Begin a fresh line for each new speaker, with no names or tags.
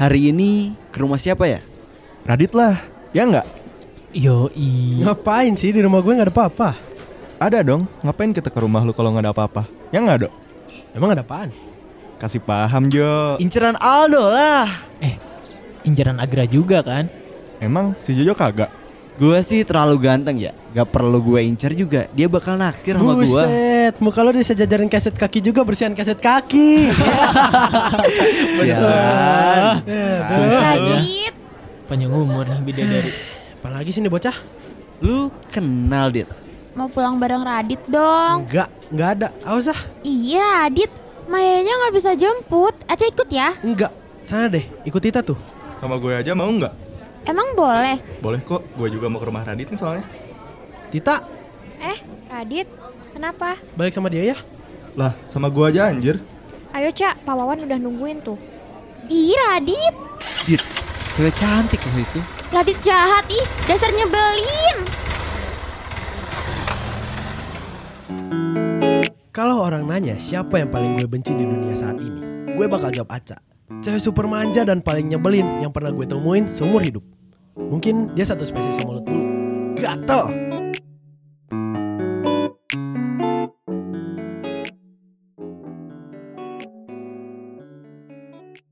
Hari ini ke rumah siapa ya?
Radit lah, ya nggak?
Yoi.
Ngapain sih di rumah gue nggak ada apa-apa?
Ada dong, ngapain kita ke rumah lu kalau nggak ada apa-apa? Ya nggak dok?
Emang ada apaan?
Kasih paham Jo.
Inceran Aldo lah.
Eh, injaran Agra juga kan?
Emang si Jojo kagak?
Gue sih terlalu ganteng ya. Gak perlu gue incer juga. Dia bakal naksir sama gue.
Buset, muka lo disejajarin keset kaki juga bersihan keset kaki.
Sialan.
Sakit.
Panjang umur nih bidadari.
Apalagi sih ini bocah?
Lu kenal Dit?
Mau pulang bareng Radit dong.
Enggak, enggak ada. Awas ah,
Iya Radit. Mayanya nggak bisa jemput. Aca ikut ya.
enggak. Sana deh, ikut Tita tuh.
Sama gue aja mau nggak?
Emang boleh?
Boleh kok, gue juga mau ke rumah Radit nih soalnya.
Tita,
Eh, Radit. Kenapa?
balik sama dia ya.
Lah, sama gue aja anjir.
Ayo Cak, Pak Wawan udah nungguin tuh.
Ih Radit.
Dit, cewek cantik loh itu.
Radit jahat ih. Dasar nyebelin.
Kalau orang nanya siapa yang paling gue benci di dunia saat ini, gue bakal jawab Aca. Cewek super manja dan paling nyebelin yang pernah gue temuin seumur hidup. Mungkin dia satu spesies sama mulut bulu. Gatel!